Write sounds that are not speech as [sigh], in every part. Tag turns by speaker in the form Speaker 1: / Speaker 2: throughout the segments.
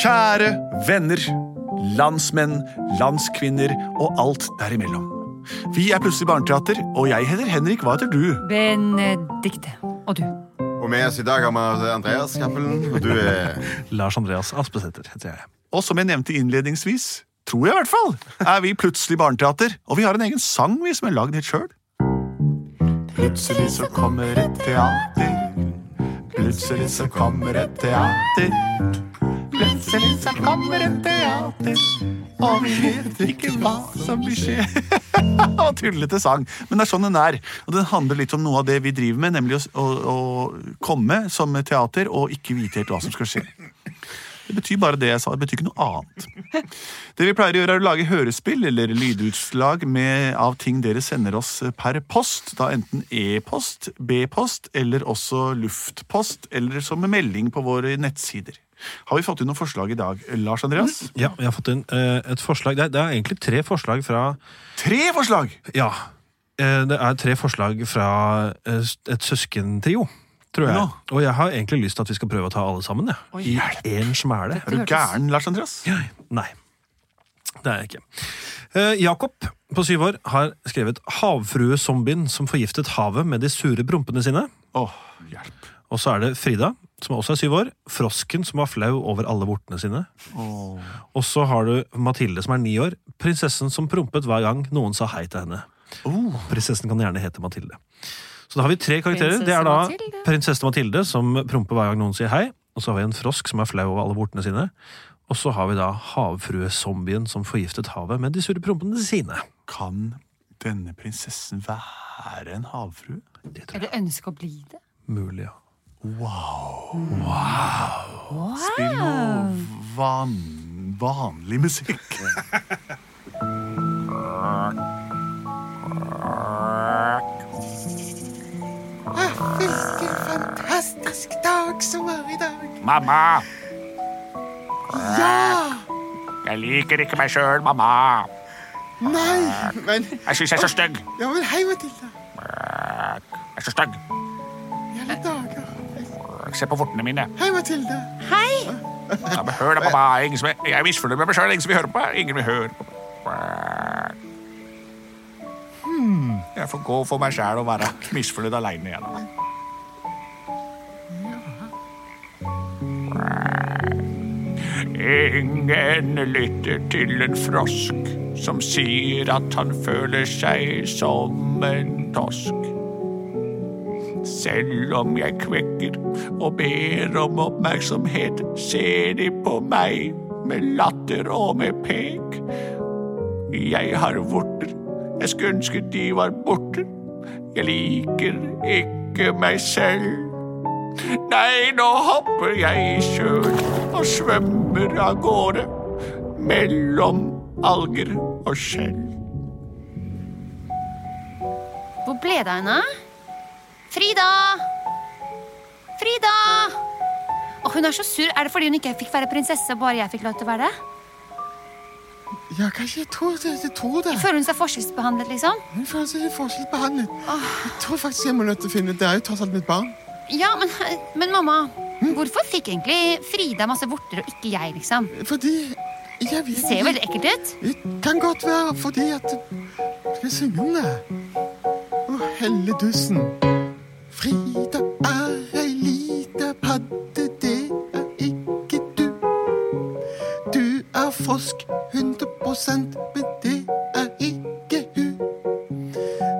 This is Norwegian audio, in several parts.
Speaker 1: Kjære venner, landsmenn, landskvinner og alt derimellom. Vi er Plutselig barneteater, og jeg heter Henrik. Hva heter du?
Speaker 2: Benedikte. Og du?
Speaker 3: Og med oss i dag har vi altså Andreas Cappelen, og du er
Speaker 4: Lars Andreas Aspesæter heter jeg.
Speaker 1: Og som jeg nevnte innledningsvis, tror jeg i hvert fall, er vi Plutselig barneteater. Og vi har en egen sang vi som er lagd helt sjøl. Plutselig så kommer et teater. Plutselig så kommer et teater. Plutselig så kommer et teater. Og vi vet ikke hva som vil skje. [laughs] Og tullete sang. Men det er sånn den er. Og den handler litt om noe av det vi driver med, nemlig å, å, å komme som teater og ikke vite helt hva som skal skje. Det betyr bare det jeg sa. Det betyr ikke noe annet. Det vi pleier å gjøre, er å lage hørespill eller lydutslag med, av ting dere sender oss eh, per post. Da enten e-post, b-post eller også luftpost, eller som en melding på våre nettsider. Har vi fått inn noen forslag i dag, Lars Andreas?
Speaker 4: Ja, jeg har fått inn eh, et forslag. Det er, det er egentlig tre forslag fra
Speaker 1: Tre forslag!
Speaker 4: Ja. eh, det er tre forslag fra eh, s- et søskentrio, tror jeg.
Speaker 1: Ja.
Speaker 4: Og jeg har egentlig lyst til at vi skal prøve å ta alle sammen, jeg. I én smæle.
Speaker 1: Er du gæren, Lars Andreas?
Speaker 4: Nei. Det er jeg ikke. Eh, Jakob på syv år har skrevet 'Havfruezombien som forgiftet havet med de sure prompene sine'.
Speaker 1: Åh, hjelp.
Speaker 4: Og så er det Frida, som også er syv år. Frosken som var flau over alle vortene sine. Og så har du Mathilde, som er ni år. Prinsessen som prompet hver gang noen sa hei til henne.
Speaker 1: Oh,
Speaker 4: Prinsessen kan gjerne hete Mathilde. Så da har vi tre karakterer.
Speaker 2: Prinsesse
Speaker 4: det er da
Speaker 2: Mathilde.
Speaker 4: prinsesse Mathilde, som promper hver gang noen sier hei. Og så har vi en frosk som er flau over alle vortene sine. Og så har vi da havfruezombien som forgiftet havet med de surre prompene sine.
Speaker 1: Kan denne prinsessen være en havfrue?
Speaker 4: Det tror jeg
Speaker 2: Eller ønsker å bli det?
Speaker 4: er mulig, ja.
Speaker 1: Spill noe van vanlig musikk.
Speaker 5: Ah, Hvilken fantastisk dag som er i dag.
Speaker 6: Mamma,
Speaker 5: Ja!
Speaker 6: jeg liker ikke meg sjøl, mamma.
Speaker 5: Nei, men
Speaker 6: Jeg syns jeg er så stygg.
Speaker 5: Ja, men hei, Matilda.
Speaker 6: Jeg er så stygg.
Speaker 5: I alle dager.
Speaker 6: Se på vortene mine.
Speaker 5: Hei, Matilda.
Speaker 6: Ja, men hør da, mamma. Ingen som er, jeg er misfornøyd med meg sjøl. Ingen som vil høre på meg. Ingen vil høre på meg. Hmm, Jeg får gå for meg sjæl og være misfornøyd aleine igjen. da. Ingen lytter til en frosk som sier at han føler seg som en tosk. Selv om jeg kvekker og ber om oppmerksomhet, ser de på meg med latter og med pek. Jeg har vorter, jeg skulle ønske de var borte. Jeg liker ikke meg selv. Nei, nå hopper jeg i sjøen og svømmer av gårde mellom alger og skjell.
Speaker 2: Hvor ble det av henne? Frida! Frida! Å, hun er så sur. Er det fordi hun ikke fikk være prinsesse, bare jeg fikk lov til å være det?
Speaker 5: Ja, kanskje jeg tror det. Jeg tror det.
Speaker 2: Føler hun seg forskjellsbehandlet, liksom?
Speaker 5: Hun føler seg litt forskjellsbehandlet.
Speaker 2: Ah.
Speaker 5: Jeg tror faktisk jeg må nødt til å finne ut Det er jo tross alt mitt barn.
Speaker 2: Ja, men, men mamma, hvorfor fikk egentlig Frida masse vorter og ikke jeg, liksom?
Speaker 5: Fordi jeg vet
Speaker 2: Det ser jo veldig ekkelt ut.
Speaker 5: Det kan godt være fordi at Skal jeg synge om det? Å, helledussen. Frida er ei lita padde, det er ikke du. Du er frosk 100 men det er ikke hun.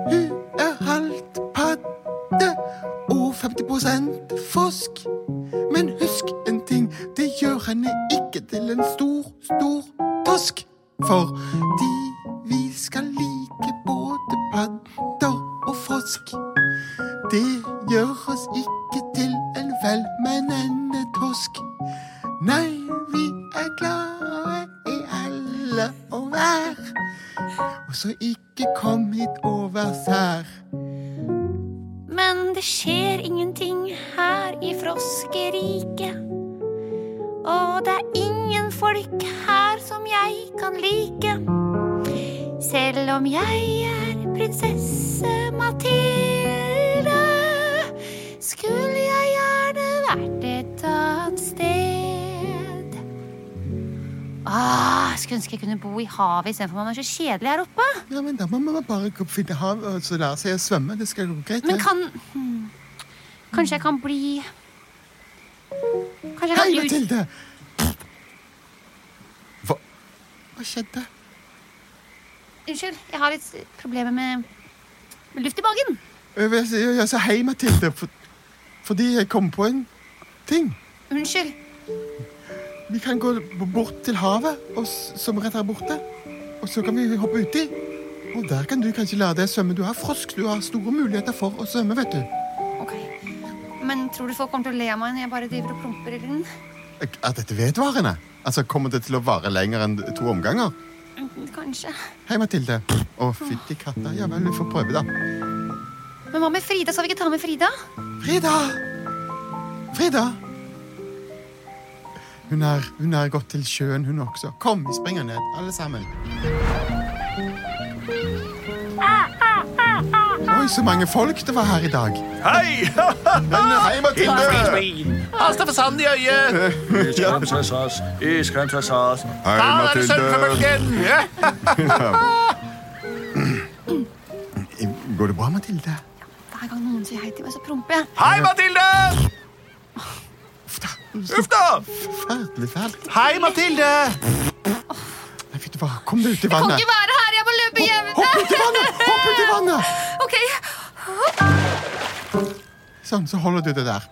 Speaker 5: Hun er halvt padde og 50 frosk. Men husk en ting, det gjør henne ikke til en stor, stor tosk. Fordi vi skal like både padder og frosk. Det gjør oss ikke til en velmenende tosk. Nei, vi så ikke kom hit overs her.
Speaker 2: Men det skjer ingenting her i froskeriket. Og det er ingen folk her som jeg kan like. Selv om jeg er prinsesse Mathilde, skulle jeg gjerne vært et annet sted. Ah, skulle ønske jeg kunne bo i havet istedenfor man er så kjedelig her oppe.
Speaker 5: Ja, men da må man bare gå finne hav og så lære seg å svømme. Det skal gå greit.
Speaker 2: Men
Speaker 5: det.
Speaker 2: kan hmm, Kanskje jeg kan bli Kanskje jeg kan
Speaker 5: Hei,
Speaker 2: ut...
Speaker 5: Mathilde!
Speaker 3: Hva?
Speaker 5: Hva skjedde?
Speaker 2: Unnskyld, jeg har litt problemer med med luft i magen.
Speaker 5: Jeg, vil si- jeg sa hei, Mathilde, for, fordi jeg kom på en ting.
Speaker 2: Unnskyld.
Speaker 5: Vi kan gå b- bort til havet, og, s- som rett her borte. Og så kan vi hoppe uti. Og der kan du kanskje lære deg å svømme. Du er frosk. Du har store muligheter for å svømme, vet du.
Speaker 2: Ok. Men tror du folk kommer til å le av meg når jeg bare driver og promper i den?
Speaker 5: Er dette vedvarende? Altså, Kommer det til å vare lenger enn to omganger?
Speaker 2: Kanskje.
Speaker 5: Hei, Mathilde. Å, fytti katta. Ja vel, vi får prøve, da.
Speaker 2: Men hva med Frida? Skal vi ikke ta med Frida?
Speaker 5: Frida! Frida! Hun er, hun er gått til sjøen, hun også. Kom, vi springer ned, alle sammen. Oi, så mange folk det var her i dag.
Speaker 7: Hei!
Speaker 5: Men hei, Mathilde!
Speaker 7: Hasta for sand i øyet!
Speaker 8: Iskremsasas, iskremsasas.
Speaker 3: Hei,
Speaker 7: Da er det
Speaker 3: Mathilde.
Speaker 7: surfebølgen! Ja.
Speaker 5: Går det bra, Mathilde?
Speaker 2: Hver gang noen sier hei til meg, så promper jeg.
Speaker 7: Hei, Mathilde!
Speaker 5: Uff da.
Speaker 7: Uff da!
Speaker 5: Forferdelig fælt.
Speaker 7: Hei, Mathilde!
Speaker 5: Nei, vet du hva, kom deg ut i
Speaker 2: Kan
Speaker 5: vannet.
Speaker 2: ikke være her! Jeg må løpe hjem!
Speaker 5: Hopp ut i vannet! Hopp ut i vannet!
Speaker 2: Ok.
Speaker 5: Sånn, så holder du det der.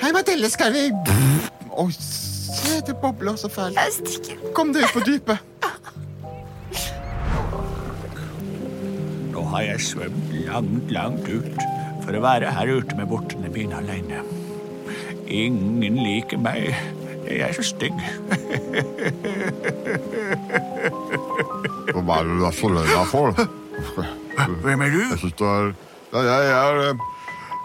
Speaker 5: Hei, Mathilde, skal vi Å, se, det bobler så fælt.
Speaker 2: Jeg stikker.
Speaker 5: Kom deg ut på dypet.
Speaker 1: Nå har jeg svømt langt, langt ut for å være her ute med vortene mine alene. Ingen liker meg. Jeg er så stygg.
Speaker 3: Hva er det du er så løy deg for?
Speaker 1: Hvem er
Speaker 3: Jeg
Speaker 1: du?
Speaker 3: synes du er Ja, jeg er eh,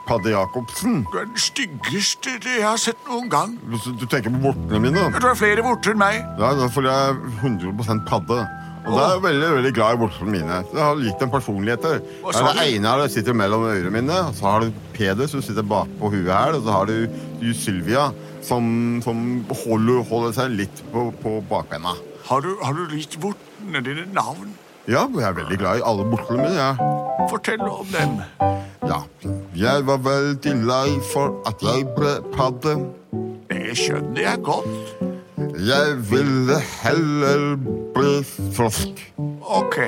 Speaker 3: Padde Jacobsen.
Speaker 1: Du er den styggeste jeg har sett noen gang.
Speaker 3: Du du tenker på vortene mine.
Speaker 1: Du har flere vorter enn meg.
Speaker 3: Ja, det er fordi jeg er 100 padde. Og da er jeg veldig veldig glad i vortene mine. Jeg har likt en personlighet. der.
Speaker 1: Hva
Speaker 3: Det
Speaker 1: sa
Speaker 3: er det
Speaker 1: du?
Speaker 3: ene her det sitter mellom ørene mine. og Så har du Peder, som sitter bakpå huet her. Og så har du, du Sylvia, som, som holder, holder seg litt på, på bakbeina.
Speaker 1: Har du, har du gitt vortene dine navn?
Speaker 3: Ja, jeg er veldig glad i alle vortene mine. jeg.
Speaker 1: Fortell om dem.
Speaker 3: Ja. Jeg var veldig lei for at jeg ble padde.
Speaker 1: Det skjønner jeg godt.
Speaker 3: Jeg ville heller bli frosk.
Speaker 1: Ok.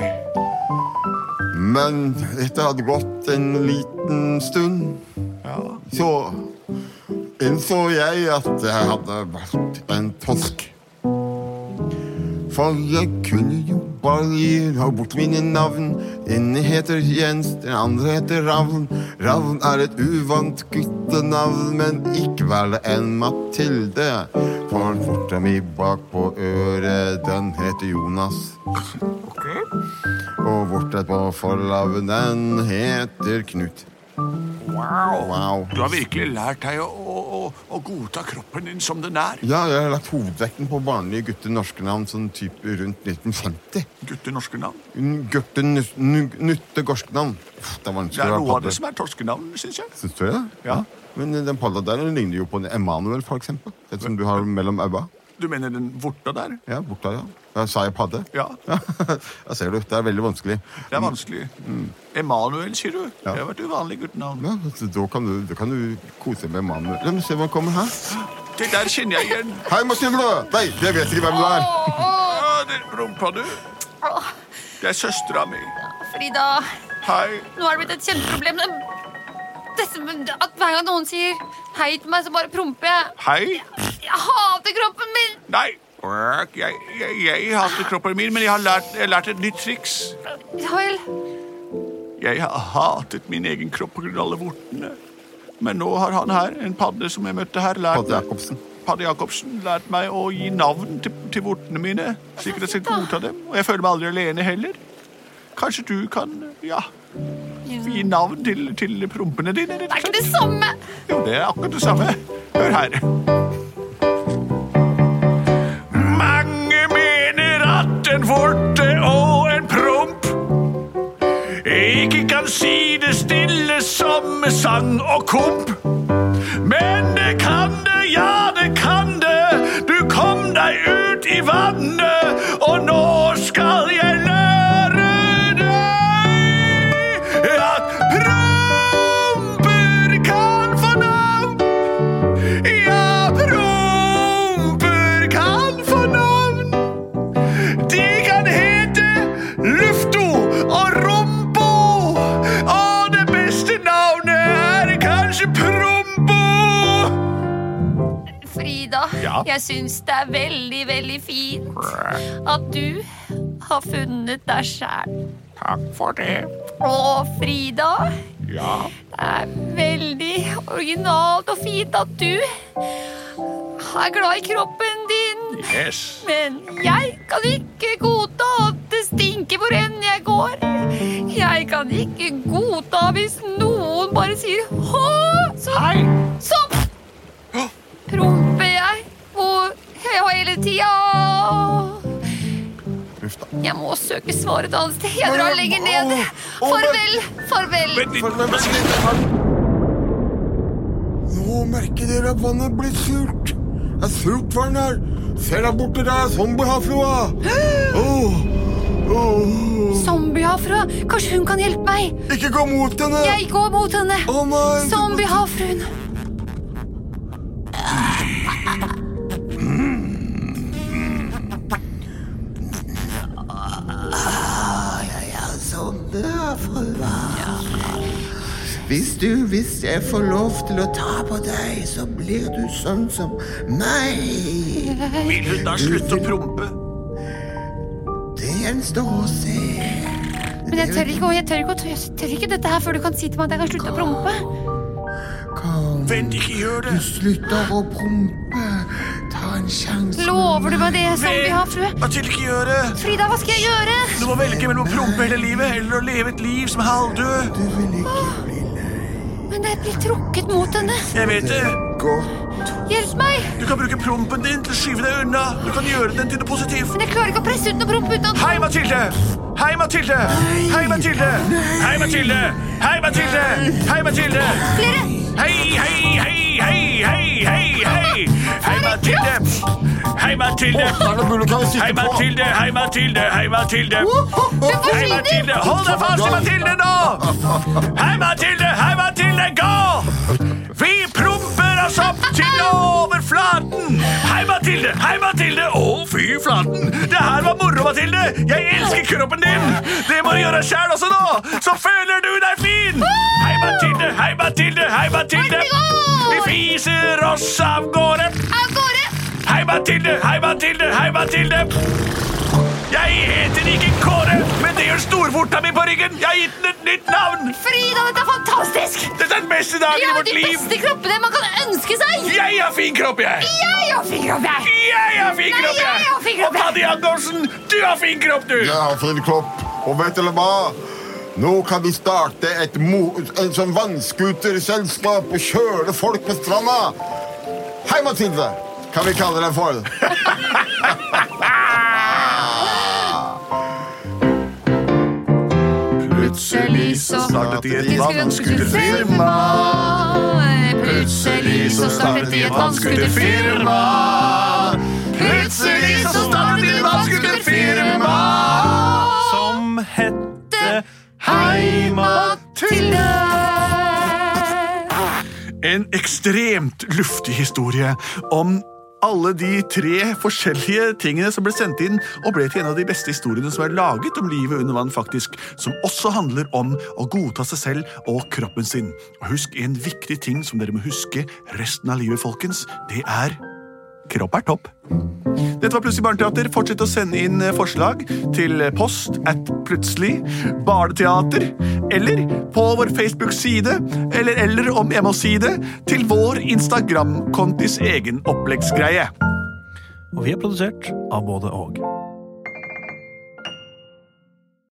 Speaker 3: Men etter at det hadde gått en liten stund, så innså jeg at jeg hadde vært en tosk. For jeg kunne jo bare ha bort mine navn. Ene heter Jens, den andre heter Ravn. Ravn er et uvant guttenavn, men ikke verre enn Mathilde. For forta mi bak på øret, den heter Jonas. Og vorta på forlaven, den heter Knut.
Speaker 1: Wow.
Speaker 3: Wow.
Speaker 1: Du har virkelig lært deg å, å, å- å godta kroppen din som den er.
Speaker 3: Ja, jeg har lagt hovedvekten på vanlige gutter norske navn sånn type rundt 1950.
Speaker 1: Gutter norske navn.
Speaker 3: Gørte Nutte Gorske navn. Pff, Det er
Speaker 1: Det
Speaker 3: vanskelig
Speaker 1: er
Speaker 3: å
Speaker 1: noe av
Speaker 3: være
Speaker 1: det
Speaker 3: padde.
Speaker 1: som er torskenavn, syns jeg.
Speaker 3: Syns du det?
Speaker 1: Ja.
Speaker 3: Men den padda der den ligner jo på en Emanuel, for eksempel. Den som du har mellom øya.
Speaker 1: Du mener den vorta der?
Speaker 3: Ja, borta, ja. ja. Sa jeg padde?
Speaker 1: Ja.
Speaker 3: Jeg ser du. Det er veldig vanskelig.
Speaker 1: Det er vanskelig. Emanuel, sier du?
Speaker 3: Ja.
Speaker 1: Det var et uvanlig guttenavn.
Speaker 3: Ja, så da kan du, da kan du kose med Emanuel. La meg se hva kommer her.
Speaker 1: Det der kjenner jeg igjen.
Speaker 3: Hei, Mathilde! Nei, jeg vet ikke hvem du er.
Speaker 1: Ja, det rumpa du.
Speaker 2: Åh,
Speaker 1: Det er søstera mi.
Speaker 2: Frida,
Speaker 1: Hei.
Speaker 2: nå har det blitt et kjempeproblem. Det- At hver gang noen sier hei til meg, så bare promper jeg.
Speaker 1: Hei.
Speaker 2: Jeg hater kroppen min!
Speaker 1: Nei. Jeg, jeg, jeg hater kroppen min, men jeg har lært, jeg har lært et nytt triks.
Speaker 2: Ja vel.
Speaker 1: Jeg har hatet min egen kropp pga. alle vortene. Men nå har han her, en padde som jeg møtte her, lært
Speaker 3: Padde Jacobsen.
Speaker 1: Padde Jacobsen lært meg å gi navn til, til vortene mine, slik at jeg skal godta dem. Og jeg føler meg aldri alene heller. Kanskje du kan, ja, gi navn til, til prompene dine?
Speaker 9: Det er ikke det samme!
Speaker 1: Jo, det er akkurat det samme. Hør her. Mange mener at en vorte og en promp ikke kan si det stille som med sang og komp. Men det kan det, ja, det kan det. Du kom deg ut i vannet, og nå skal jeg lære deg at promper kan få navn. Ja, promper kan få navn. De kan hete Lufto og Rombo. Og det beste navnet er kanskje Prombo.
Speaker 9: Frida,
Speaker 1: Ja?
Speaker 9: jeg syns det er veldig, veldig fint at du har funnet deg sjæl.
Speaker 1: Takk for det.
Speaker 9: Og Frida,
Speaker 1: Ja.
Speaker 9: det er veldig originalt og fint at du er glad i kroppen din.
Speaker 1: Yes.
Speaker 9: Men jeg kan ikke godta at det stinker hvor enn jeg går. Jeg kan ikke godta hvis noen bare sier hå, så,
Speaker 1: Hei.
Speaker 9: så promper jeg hvor he- hele tida.
Speaker 3: Uff da.
Speaker 9: Jeg må søke svaret et annet sted. Jeg drar lenger ned. Farvel, farvel.
Speaker 3: Nå merker dere at vannet blir surt. Det er surt vann her. Se der borte, det er zombiehavfrua. Åh, åh.
Speaker 9: Zombiehavfrua, kanskje hun kan hjelpe meg?
Speaker 3: Ikke gå mot henne!
Speaker 9: Jeg går mot henne.
Speaker 3: Å nei!
Speaker 9: Zombiehavfruen.
Speaker 5: Hvis du, hvis jeg får lov til å ta på deg, så blir du sånn som meg.
Speaker 1: Vil hun da slutte å prompe?
Speaker 5: Det gjenstår å se.
Speaker 9: Men jeg tør ikke, jeg tør ikke, jeg tør ikke dette her før du kan si til meg at jeg kan slutte å prompe.
Speaker 5: Kom,
Speaker 1: Vent, ikke gjør det.
Speaker 5: du slutter å prompe. Ta en sjanse.
Speaker 9: Lover du meg det, zombiehavfrue?
Speaker 1: Mathilde, ikke gjør det.
Speaker 9: Frida, hva skal jeg gjøre?
Speaker 1: Du må velge mellom å prompe hele livet eller å leve et liv som er halvdød.
Speaker 5: Du vil ikke bli
Speaker 9: Men jeg blir trukket mot henne.
Speaker 1: Jeg vet det.
Speaker 5: godt.
Speaker 9: Hjelp meg!
Speaker 1: Du kan bruke prompen din til å skyve deg unna. Du kan gjøre den til noe positivt.
Speaker 9: Men jeg klarer ikke å presse ut noe promp uten at
Speaker 1: Hei, Mathilde! Hei, Mathilde! Hei, Mathilde! Hei, Mathilde! Hei, Mathilde! Hei, Mathilde!
Speaker 9: flere
Speaker 1: Hei, hei, hei, hei, hei, hei, hei! Hei, Mathilde! Hei, Mathilde!
Speaker 3: Er det mulig? Kan vi
Speaker 1: Hei,
Speaker 3: sitte på?
Speaker 1: Mathilde! Hei, Mathilde! Hei, Mathilde!
Speaker 9: Du
Speaker 1: Hei,
Speaker 9: forsvinner!
Speaker 1: Mathilde! Hold deg fast i Mathilde nå! Hei, Mathilde! Hei, Mathilde! Gå! Vi promper oss opp til overflaten! Hei, Mathilde! Hei, Mathilde! Å, fy flaten! Det her var moro, Mathilde! Jeg elsker kroppen din! Det må du gjøre sjæl også nå! Så føler du deg fin! Hei, Mathilde! Hei, Mathilde! Hei, Mathilde! Vi fiser oss av gårde!
Speaker 9: Av gårde!
Speaker 1: Hei, Mathilde! Hei, Mathilde! Hei, Mathilde! Jeg heter ikke Kåre, men det gjør storvorta mi på ryggen. Jeg har gitt den et nytt navn.
Speaker 9: Frida, dette er fantastisk!
Speaker 1: Dette er den beste dagen
Speaker 9: Vi
Speaker 1: i
Speaker 9: har
Speaker 1: vårt
Speaker 9: de
Speaker 1: liv.
Speaker 9: beste kroppene man kan ønske seg!
Speaker 1: Jeg har fin kropp, jeg.
Speaker 9: Jeg har fin kropp, jeg!
Speaker 1: Jeg har fin
Speaker 9: Nei,
Speaker 1: kropp,
Speaker 9: jeg har fin kropp,
Speaker 1: Og Paddy Jacobsen, du har fin kropp, du.
Speaker 3: Jeg har fin kropp. Og vet dere hva? Nå kan vi starte et, mo en sånn vannskuterselskap og kjøre folk på stranda. Hei, Mathilde. Kan vi kalle deg for?
Speaker 9: Plutselig så
Speaker 2: Startet i et
Speaker 9: vannskuterfirma. Plutselig så startet de et vannskuterfirma. Plutselig så startet de et vannskuterfirma.
Speaker 4: Som hette Hei,
Speaker 2: En ekstremt luftig historie om alle de tre forskjellige tingene som ble sendt inn og ble til en av de beste historiene som er laget om livet under vann, faktisk, som også handler om å godta seg selv og kroppen sin. Og husk en viktig ting som dere må huske resten av livet, folkens. Det er
Speaker 1: Kropp er topp. Dette var Plutselig barneteater. Fortsett å sende inn eh, forslag til eh, post at plutselig barneteater, eller på vår Facebook-side, eller, eller om jeg må si det, til vår Instagram-kontis egen oppleggsgreie.
Speaker 4: Og vi er produsert av både og.